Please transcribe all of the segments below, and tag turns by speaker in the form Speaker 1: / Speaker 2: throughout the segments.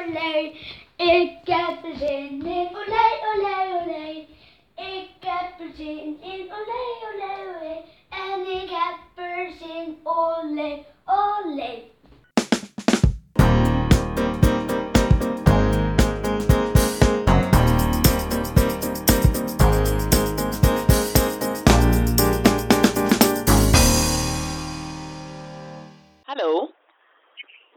Speaker 1: olé. Ik heb er zin in, olé, olé, olé. Ik heb er zin in, olé, olé, olé. En ik heb er zin, olé, olé.
Speaker 2: Hallo.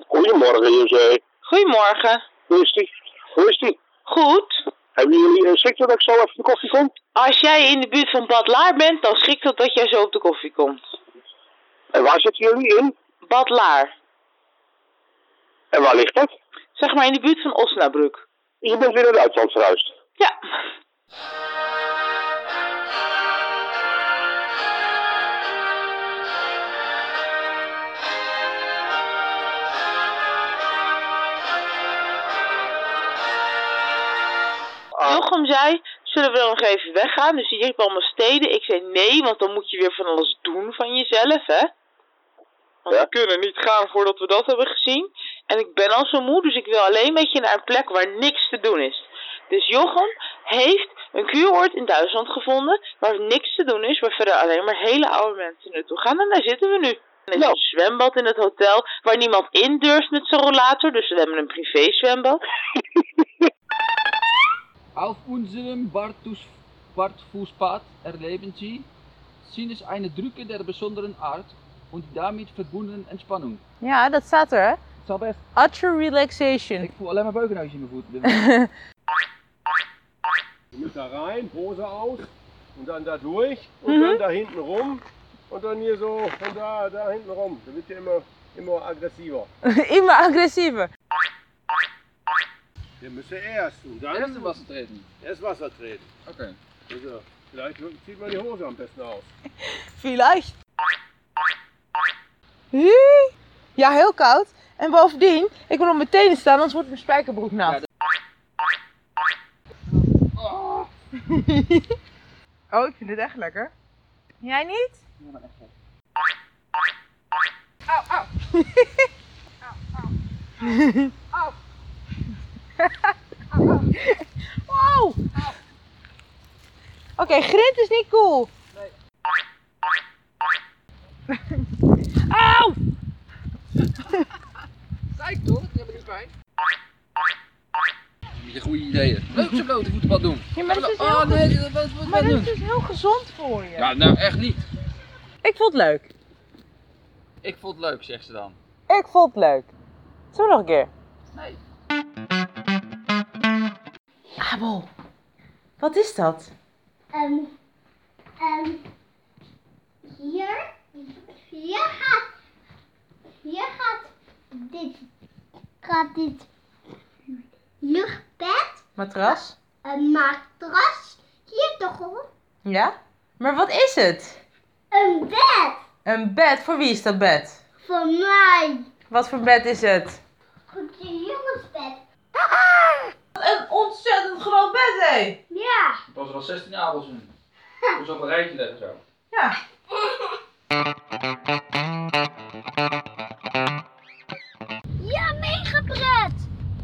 Speaker 3: Goedemorgen, José.
Speaker 2: Goedemorgen.
Speaker 3: Hoe is die? Hoe is die?
Speaker 2: Goed.
Speaker 3: Hebben jullie een ziekte dat ik zo even de koffie kom?
Speaker 2: Als jij in de buurt van Bad Laar bent, dan schrikt het dat jij zo op de koffie komt.
Speaker 3: En waar zitten jullie in?
Speaker 2: Bad Laar.
Speaker 3: En waar ligt dat?
Speaker 2: Zeg maar in de buurt van Osnabrück.
Speaker 3: Je bent weer naar het uitland verhuisd.
Speaker 2: Ja.
Speaker 3: Ah,
Speaker 2: Jochem zei, zullen we dan nog even weggaan? Dus die riep allemaal steden. Ik zei nee, want dan moet je weer van alles doen van jezelf, hè? Want
Speaker 3: Ja.
Speaker 2: we kunnen niet gaan voordat we dat hebben gezien. En ik ben al zo moe, dus ik wil alleen met je naar een plek waar niks te doen is. Dus Jochem heeft een kuuroord in Duitsland gevonden waar niks te doen is, waar verder alleen maar hele oude mensen naartoe gaan. En daar zitten we nu. Er is
Speaker 3: Nou.
Speaker 2: een zwembad in het hotel waar niemand in durft met zijn rollator, dus we hebben een privé zwembad.
Speaker 4: Auf unserem Bartus- Bartfußpfad erleben Sie, sind es eine Drücke der besonderen Art und die damit verbundenen Entspannung.
Speaker 5: Ja, dat staat er, hè?
Speaker 4: Het zal best.
Speaker 5: Utter relaxation.
Speaker 4: Ik voel alleen maar beukenhuis in mijn voeten.
Speaker 6: Je moet da rein, Hose aus und dann da durch und dann da hinten rum und dann hier so von da, da hinten rum. Dann wird ja immer, immer aggressiver.
Speaker 5: Immer agressiever.
Speaker 6: Wir müssen erst und dann
Speaker 4: Eerst was het reden.
Speaker 6: erst Wasser treten.
Speaker 4: Oké.
Speaker 6: Also, vielleicht zieht man die Hose am besten aus.
Speaker 5: Vielleicht. Hé? Ja, heel koud. En bovendien, ik wil op mijn tenen staan, anders wordt mijn spijkerbroek nat.
Speaker 4: Ja,
Speaker 5: Oh, ik vind dit echt lekker. Jij niet? Wow! Oké, grind is niet cool. Nee. Auw!
Speaker 4: Kijk toch, die hebben nu pijn. Niet een goede ideeën. Leuk zijn blote voeten wat doen.
Speaker 5: Ja, maar dat is heel
Speaker 4: oh
Speaker 5: goed.
Speaker 4: nee, dat wat, wat,
Speaker 5: Maar
Speaker 4: wat
Speaker 5: dit is
Speaker 4: doen.
Speaker 5: dus heel gezond voor je.
Speaker 4: Ja, nou echt niet.
Speaker 5: Ik vond het leuk.
Speaker 4: Ik vond het leuk, zegt ze dan.
Speaker 5: Ik vond het leuk. Zullen we nog een keer?
Speaker 4: Nee.
Speaker 5: Abel, wat is dat?
Speaker 1: En, en hier, hier gaat, hier gaat dit, gaat dit luchtbed,
Speaker 5: Matras?
Speaker 1: een matras, hier toch hoor,
Speaker 5: Ja? Maar wat is het?
Speaker 1: een bed
Speaker 5: Een bed. Voor wie is dat bed?
Speaker 1: voor mij.
Speaker 5: Wat voor bed is het?
Speaker 1: Goed, je jongensbed.
Speaker 5: Een ontzettend groot bed, hé!
Speaker 1: Ja.
Speaker 4: Er was er al 16 abels in. Dus op een rijtje leggen zo.
Speaker 5: Ja.
Speaker 1: Ja, mega pret.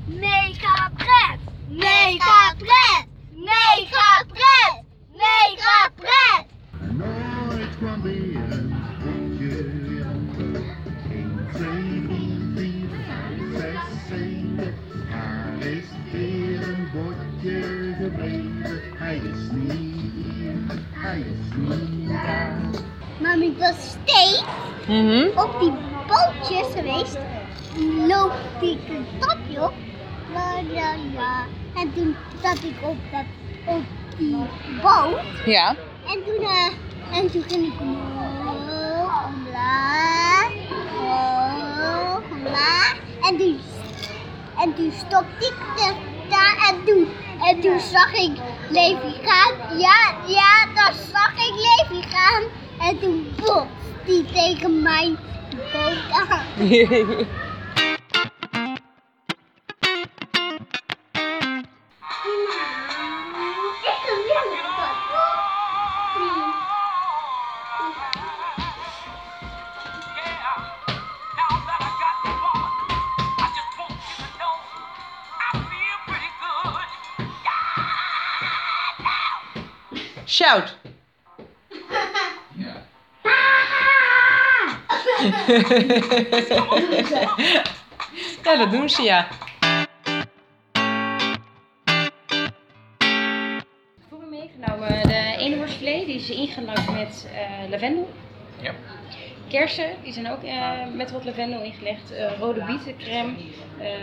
Speaker 1: Mega pret. Mega pret. Mega pret. Mega pret.
Speaker 7: Nooit kwam weer een eindje aan. 1, 2, 3, 4, 5, 6, 7. Daar is weer een bordje gebleven. Hij is niet hier, hij is niet daar.
Speaker 1: Mami, ik was steeds op die bootjes geweest. Die loopt ik een topje op. La, la, la. En toen zat ik op, dat, op die boot.
Speaker 5: Ja.
Speaker 1: En toen, eh, en toen ging ik omhoog, omlaag, omhoog, omlaag. En toen, en toen stopte ik er daar en toen, en toen zag ik Levi gaan. Ja, ja, daar zag ik Levi gaan. En toen botste die tegen mijn boot aan. Ik wil weer met dat.
Speaker 8: Yeah, now that I got the one, I just want you to know I
Speaker 2: Shout.
Speaker 4: Ja.
Speaker 2: ja, dat doen ze ja.
Speaker 8: Ik heb meegenomen Nou, eh, de ene worstfilet, die is ingelakt met eh, lavendel.
Speaker 4: Ja.
Speaker 8: Kersen, die zijn ook eh, met wat lavendel ingelegd. Eh, rode bietencrème, ehm,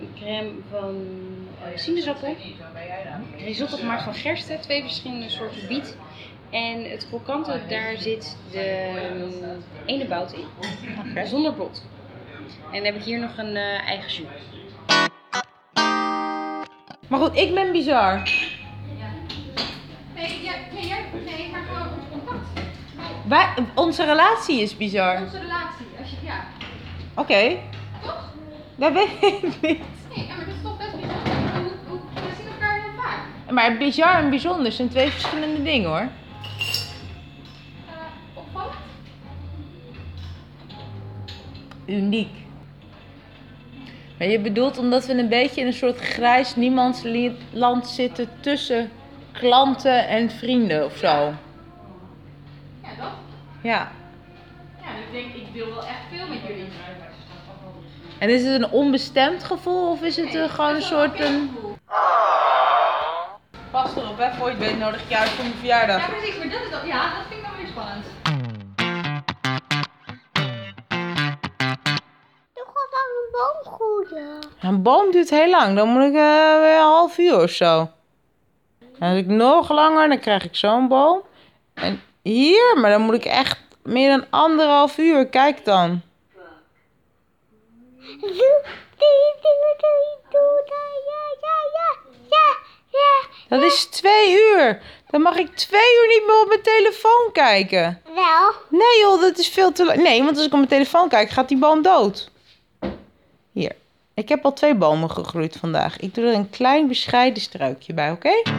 Speaker 8: een crème van eh, sinaasappel. Risotto gemaakt van gersten, twee verschillende soorten biet. En het krokante, daar zit de eh, ene bout in, zonder bot. En dan heb ik hier nog een eh, eigen jus.
Speaker 2: Maar goed, ik ben bizar.
Speaker 9: Nee, ja, nee, jij, nee, maar gewoon ons contact.
Speaker 2: Wij, onze relatie is bizar.
Speaker 9: Onze relatie. Als je, ja.
Speaker 2: Oké. Dat weet ik niet.
Speaker 9: Nee, ja, maar dat is toch best bijzonder. Hoe- hoe- We zien elkaar heel vaak.
Speaker 2: Maar bizar en bijzonder zijn twee verschillende dingen hoor.
Speaker 9: Eh, opvallend?
Speaker 2: Uniek. Maar je bedoelt omdat we een beetje in een soort grijs niemandsland zitten tussen klanten en vrienden of zo.
Speaker 9: Ja, dat.
Speaker 2: Ja.
Speaker 9: Ja, ik denk, ik wil wel echt veel met jullie.
Speaker 2: En is het een onbestemd gevoel of is het eh, gewoon een soort een. Pas erop, hè, voor je het weet nodig ik voor mijn verjaardag.
Speaker 9: Ja, precies, maar dat is dan, ja, dat vind ik dan weer spannend.
Speaker 1: Er gaat aan een boom groeien.
Speaker 2: Een boom duurt heel lang, dan moet ik eh, weer een half uur of zo. Dan doe ik nog langer, dan krijg ik zo'n boom. En hier, maar dan moet ik echt meer dan anderhalf uur, kijk dan.
Speaker 1: Ja, ja, ja, ja, ja.
Speaker 2: Dat is twee uur. Dan mag ik twee uur niet meer op mijn telefoon kijken.
Speaker 1: Wel,
Speaker 2: Nee joh, dat is veel te lang. Nee, want als ik op mijn telefoon kijk, gaat die boom dood. Hier. Ik heb al twee bomen gegroeid vandaag. Ik doe er een klein bescheiden struikje bij, oké?
Speaker 1: ga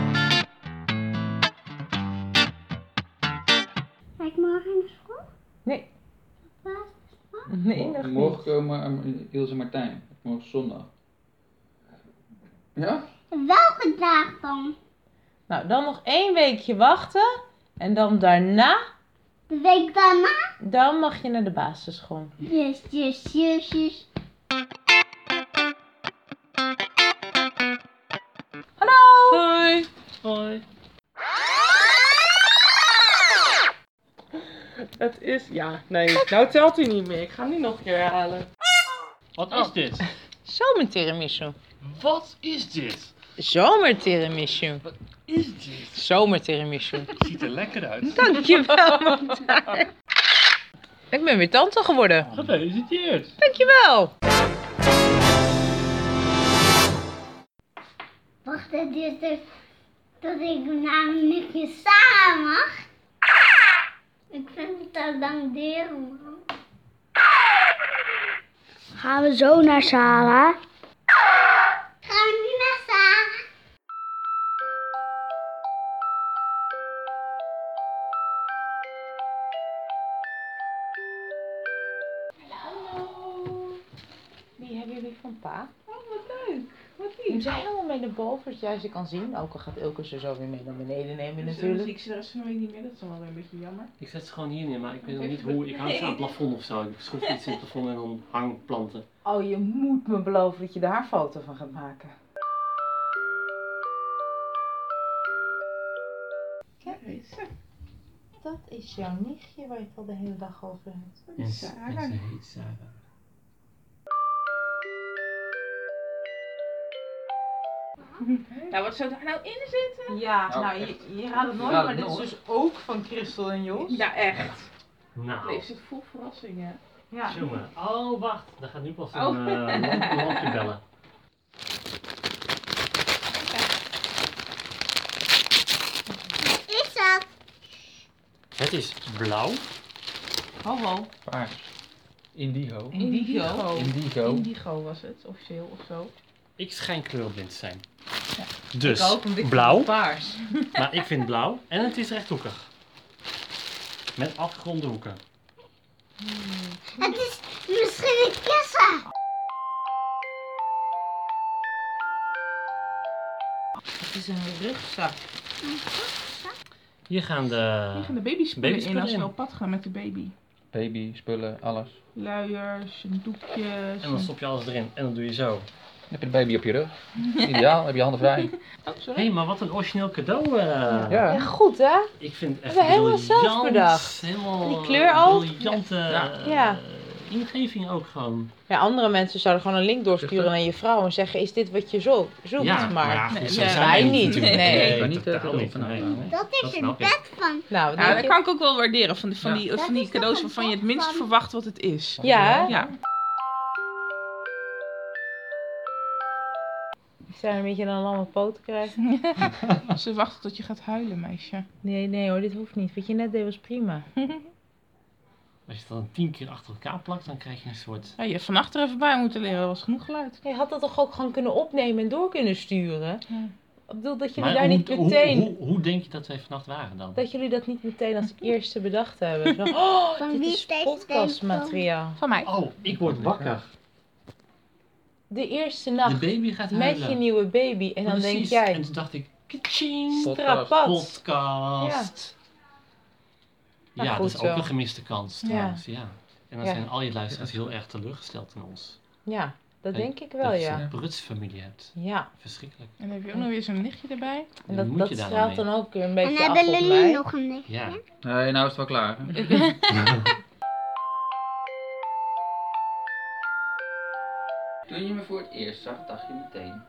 Speaker 1: ik morgen naar school?
Speaker 2: Nee.
Speaker 1: Wat?
Speaker 2: Nee, nog niet.
Speaker 4: Morgen komen Ilse en Martijn. Morgen zondag. Ja?
Speaker 1: Welke dag dan?
Speaker 2: Nou, dan nog één weekje wachten. En dan daarna,
Speaker 1: De week daarna?
Speaker 2: dan mag je naar de basisschool.
Speaker 1: Yes, yes, yes, yes.
Speaker 2: Hallo! Hoi! Hoi.
Speaker 5: Het is. Ja, nee. Nou telt hij niet meer. Ik ga hem niet nog een keer herhalen.
Speaker 10: Wat
Speaker 2: Oh.
Speaker 10: is dit?
Speaker 2: Zomertiramisu.
Speaker 10: Wat is dit?
Speaker 2: Zomertiramisu.
Speaker 10: Wat is dit?
Speaker 2: Zomertiramisu.
Speaker 10: Het ziet er lekker uit.
Speaker 2: Dankjewel, Martijn. Ik ben weer tante geworden.
Speaker 10: Gefeliciteerd.
Speaker 2: Dankjewel.
Speaker 1: Wacht, dit is dus dat ik namelijk je samen mag. Ik vind het al lang deren, man. Gaan we zo naar Sarah? Gaan we nu naar Sarah?
Speaker 2: Die hebben jullie van pa. Oh, wat leuk. Wat lief. Ze zijn allemaal mee naar boven, zodat jij ze kan zien. Ook al gaat Ilke ze zo weer mee naar beneden nemen
Speaker 5: Dus
Speaker 2: natuurlijk.
Speaker 5: ik zie de rest van de week niet meer. Dat is dan wel weer een beetje jammer.
Speaker 10: Ik zet ze gewoon hier neer, maar ik weet nog niet hoe. Ik hang ze aan het plafond of zo. Ik schroef iets in het plafond en dan hang planten.
Speaker 2: Oh, je moet me beloven dat je daar een foto van gaat maken.
Speaker 5: Kijk eens.
Speaker 2: Dat is jouw nichtje waar je het al de hele dag over hebt.
Speaker 5: Dat is Sarah.
Speaker 10: heet Sarah.
Speaker 5: Nou, wat zou daar nou in zitten?
Speaker 2: Ja,
Speaker 4: Nou,
Speaker 2: nou,
Speaker 4: echt.
Speaker 2: je, je raadt het nooit,
Speaker 4: Ja,
Speaker 2: maar dit is
Speaker 4: nooit.
Speaker 2: dus ook van Christel en Jos.
Speaker 5: Nou, echt. Nee,
Speaker 10: Nou,
Speaker 5: ze zit vol verrassingen.
Speaker 2: Ja.
Speaker 10: jongen. Oh, wacht. Dan gaat nu pas een
Speaker 5: Oh.
Speaker 10: eh, lamp- lampje bellen.
Speaker 1: Is dat?
Speaker 10: Het is blauw.
Speaker 2: Ho, ho.
Speaker 4: Paars. Indigo.
Speaker 2: Indigo.
Speaker 4: Indigo.
Speaker 5: Indigo was het, officieel of zo.
Speaker 10: Ik schijn kleurblind te zijn.
Speaker 2: Ik
Speaker 10: Dus
Speaker 2: ook, want ik vind
Speaker 10: blauw,
Speaker 2: het Paars.
Speaker 10: maar ik vind blauw en het is rechthoekig. Met afgeronde hoeken.
Speaker 1: Het is misschien een kissa.
Speaker 2: Het is een rugzak.
Speaker 10: Hier gaan de...
Speaker 5: Hier gaan de babyspullen in
Speaker 10: babyspullen
Speaker 5: als we
Speaker 10: in.
Speaker 5: op pad gaan met de baby.
Speaker 4: Baby, spullen, alles.
Speaker 5: Luiers, doekjes.
Speaker 10: En dan stop je alles erin en dan doe je zo.
Speaker 4: Dan heb je de baby op je rug. Ideaal, heb je handen vrij.
Speaker 10: Hé, hey, maar wat een origineel cadeau. eh.
Speaker 4: Ja.
Speaker 2: Goed hè?
Speaker 10: Ik vind het echt
Speaker 2: hebben helemaal zelf
Speaker 10: briljant,
Speaker 2: bedacht.
Speaker 10: Helemaal
Speaker 2: Die kleur ook.
Speaker 10: Briljante eh,
Speaker 2: Ja.
Speaker 10: ingeving ook gewoon.
Speaker 2: Ja, andere mensen zouden gewoon een link doorsturen naar je vrouw en zeggen: Is dit wat je zo zoekt?
Speaker 10: Ja,
Speaker 2: maar
Speaker 10: maar ja, goed, zo
Speaker 2: ja,
Speaker 10: zijn
Speaker 2: wij
Speaker 10: mensen
Speaker 2: niet.
Speaker 10: natuurlijk.
Speaker 2: Nee.
Speaker 10: Nee,
Speaker 4: Ik ben niet
Speaker 10: totaal
Speaker 4: eh,
Speaker 10: niet.
Speaker 4: van
Speaker 10: Nee.
Speaker 4: houden.
Speaker 1: Dat is
Speaker 10: Dat
Speaker 1: een
Speaker 10: snap ik.
Speaker 1: bed van.
Speaker 2: Nou,
Speaker 5: Ja,
Speaker 2: denk
Speaker 5: dat
Speaker 2: ik-
Speaker 5: kan ik ook wel waarderen. Van, die- van, die,
Speaker 1: Dat
Speaker 5: van
Speaker 1: is
Speaker 5: die
Speaker 1: toch
Speaker 5: cadeaus
Speaker 1: een
Speaker 5: waarvan je het minst
Speaker 1: van-
Speaker 5: verwacht wat het is.
Speaker 2: Ja, hè?
Speaker 5: Ja.
Speaker 2: Ze zijn een beetje een lamme poot te krijgen.
Speaker 5: Ze wachten tot je gaat huilen, meisje.
Speaker 2: Nee, nee hoor, dit hoeft niet. Wat je net deed was prima.
Speaker 10: Als je het dan tien keer achter elkaar plakt, dan krijg je een soort...
Speaker 5: Ja, je hebt vannacht er even bij moeten leren. Dat was genoeg geluid.
Speaker 2: Je had dat toch ook gewoon kunnen opnemen en door kunnen sturen?
Speaker 5: Ja.
Speaker 2: Ik bedoel dat jullie
Speaker 10: Maar
Speaker 2: daar
Speaker 10: hoe,
Speaker 2: niet
Speaker 10: hoe-
Speaker 2: meteen.
Speaker 10: Hoe, hoe, denk je dat wij vannacht waren dan?
Speaker 2: Dat jullie dat niet meteen als eerste bedacht hebben. Zo, oh,
Speaker 1: Van
Speaker 2: dit
Speaker 1: wie
Speaker 2: is
Speaker 1: deze
Speaker 2: podcastmateriaal.
Speaker 5: Van mij.
Speaker 10: Oh, ik word wakker.
Speaker 2: De eerste
Speaker 10: De
Speaker 2: nacht
Speaker 10: baby gaat huilen.
Speaker 2: met je nieuwe baby. En dan denk
Speaker 10: Precies. En
Speaker 2: jij,
Speaker 10: toen dacht ik, kitching,
Speaker 2: strapat.
Speaker 10: podcast. Ja,
Speaker 2: Nou, goed
Speaker 10: dat is ook
Speaker 2: zo.
Speaker 10: een gemiste kans
Speaker 2: Ja.
Speaker 10: trouwens, ja. En dan
Speaker 2: Ja.
Speaker 10: zijn al je luisteraars heel erg teleurgesteld in ons.
Speaker 2: Ja, dat
Speaker 10: En
Speaker 2: denk ik wel,
Speaker 10: dat eh, je
Speaker 2: ja.
Speaker 10: zo'n Brutse familie hebt.
Speaker 2: Ja,
Speaker 10: Verschrikkelijk.
Speaker 5: En dan heb je ook nog weer zo'n lichtje erbij.
Speaker 2: en
Speaker 10: Dan
Speaker 2: dat,
Speaker 10: moet
Speaker 2: dat
Speaker 10: je daar
Speaker 2: straalt
Speaker 10: dan
Speaker 2: dan ook weer een
Speaker 1: En
Speaker 2: beetje af
Speaker 1: hebben
Speaker 2: op
Speaker 1: jullie
Speaker 2: mij.
Speaker 1: nog een licht?
Speaker 10: Ja.
Speaker 4: Nee, nou is het wel klaar. hè? Toen je me voor het eerst zag, dacht je meteen.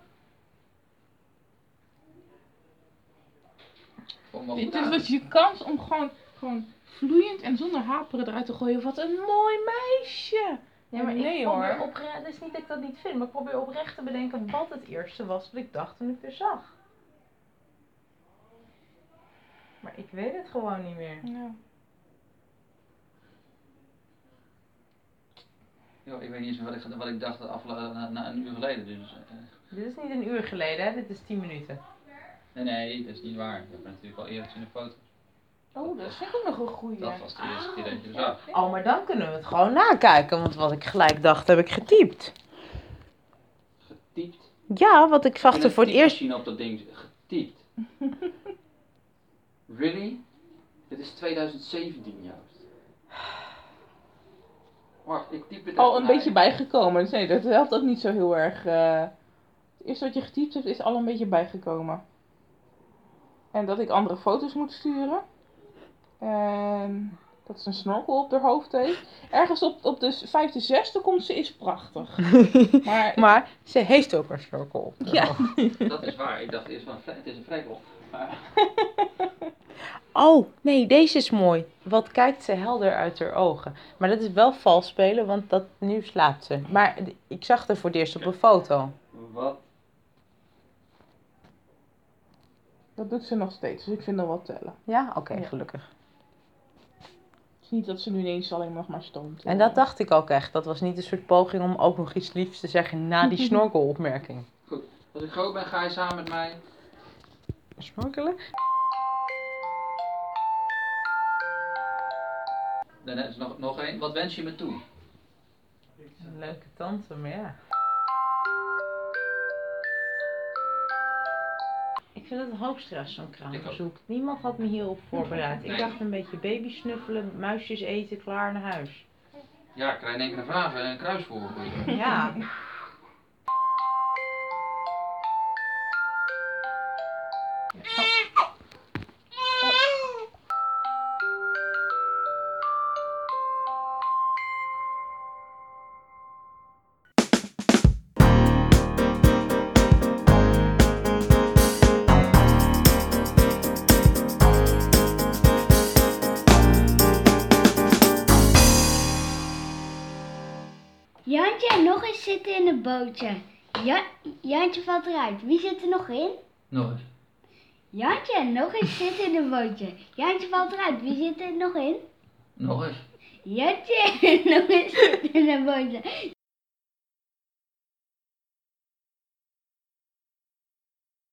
Speaker 4: Kom maar
Speaker 5: Dit was dus je kans om gewoon, gewoon vloeiend en zonder haperen eruit te gooien. Wat een mooi meisje.
Speaker 2: Ja, maar
Speaker 5: Nee,
Speaker 2: ik probeer
Speaker 5: hoor.
Speaker 2: opre- Het is niet dat ik dat niet vind, maar ik probeer oprecht te bedenken wat het eerste was wat ik dacht toen ik er zag. Maar ik weet het gewoon niet meer.
Speaker 5: Ja.
Speaker 4: Yo, ik weet niet eens wat ik, wat ik dacht afla- na, na een uur geleden. Dus, eh,
Speaker 2: Dit is niet een uur geleden, hè? dit is 10 minuten.
Speaker 4: nee, nee, dat is niet waar. Ik heb het natuurlijk al eerder gezien op foto.
Speaker 5: Oh, dat is ook nog een goeie.
Speaker 4: Dat was de eerste keer dat je me zag.
Speaker 5: Ah.
Speaker 2: Oh, maar dan kunnen we het gewoon nakijken, want wat ik gelijk dacht heb ik getypt.
Speaker 4: Getypt.
Speaker 2: Ja, wat ik
Speaker 4: In
Speaker 2: vachtte
Speaker 4: een
Speaker 2: voor het eerst.
Speaker 4: typemachine op dat ding getypt. really? Dit is 2017, juist. Wacht, ik typ het
Speaker 5: al
Speaker 4: even
Speaker 5: een
Speaker 4: uit.
Speaker 5: beetje bijgekomen. Dus nee, dat helpt ook niet zo heel erg. eh. het eerste wat je getypt hebt, is al een beetje bijgekomen. En dat ik andere foto's moet sturen. En dat ze een snorkel op haar hoofd heeft. Ergens op, op de vijfde, zesde komt ze is prachtig. Maar
Speaker 2: Maar ze heeft ook een snorkel op.
Speaker 5: ja,
Speaker 4: Dat is waar, ik dacht eerst van, vrij- het is een vrijbol.
Speaker 2: Oh, nee, deze is mooi. Wat kijkt ze helder uit haar ogen. Maar dat is wel vals spelen, want dat, nu slaapt ze. Maar d- ik zag haar voor het eerst op een foto.
Speaker 4: Wat?
Speaker 5: dat doet ze nog steeds. Dus ik vind dat wel tellen.
Speaker 2: Ja? Oké,
Speaker 5: Ja.
Speaker 2: gelukkig.
Speaker 5: Het is niet dat ze nu ineens alleen nog maar stond.
Speaker 2: En dat dacht ik ook echt. Dat was niet een soort poging om ook nog iets liefs te zeggen na die snorkelopmerking.
Speaker 4: Als ik groot ben, ga je samen met mij.
Speaker 2: Snorkelen?
Speaker 4: Dan is nog, nog één. Wat wens je me toe?
Speaker 2: Een leuke tante, maar ja. Ik vind het hoogstress zo'n kraambezoek. Niemand had me hierop voorbereid. Ik
Speaker 4: Nee.
Speaker 2: dacht een beetje baby snuffelen, muisjes eten, klaar naar huis.
Speaker 4: Ja, ik krijg in één keer een vraag en een kruis voor.
Speaker 2: Ja.
Speaker 1: Jantje en nog eens zitten in een bootje. Ja, Jantje valt eruit. Wie zit er nog in?
Speaker 4: Nog eens.
Speaker 1: Jantje en nog eens zitten in een bootje. Jantje valt eruit. Wie zit er nog in?
Speaker 4: Nog eens.
Speaker 1: Jantje en nog eens zitten in een bootje.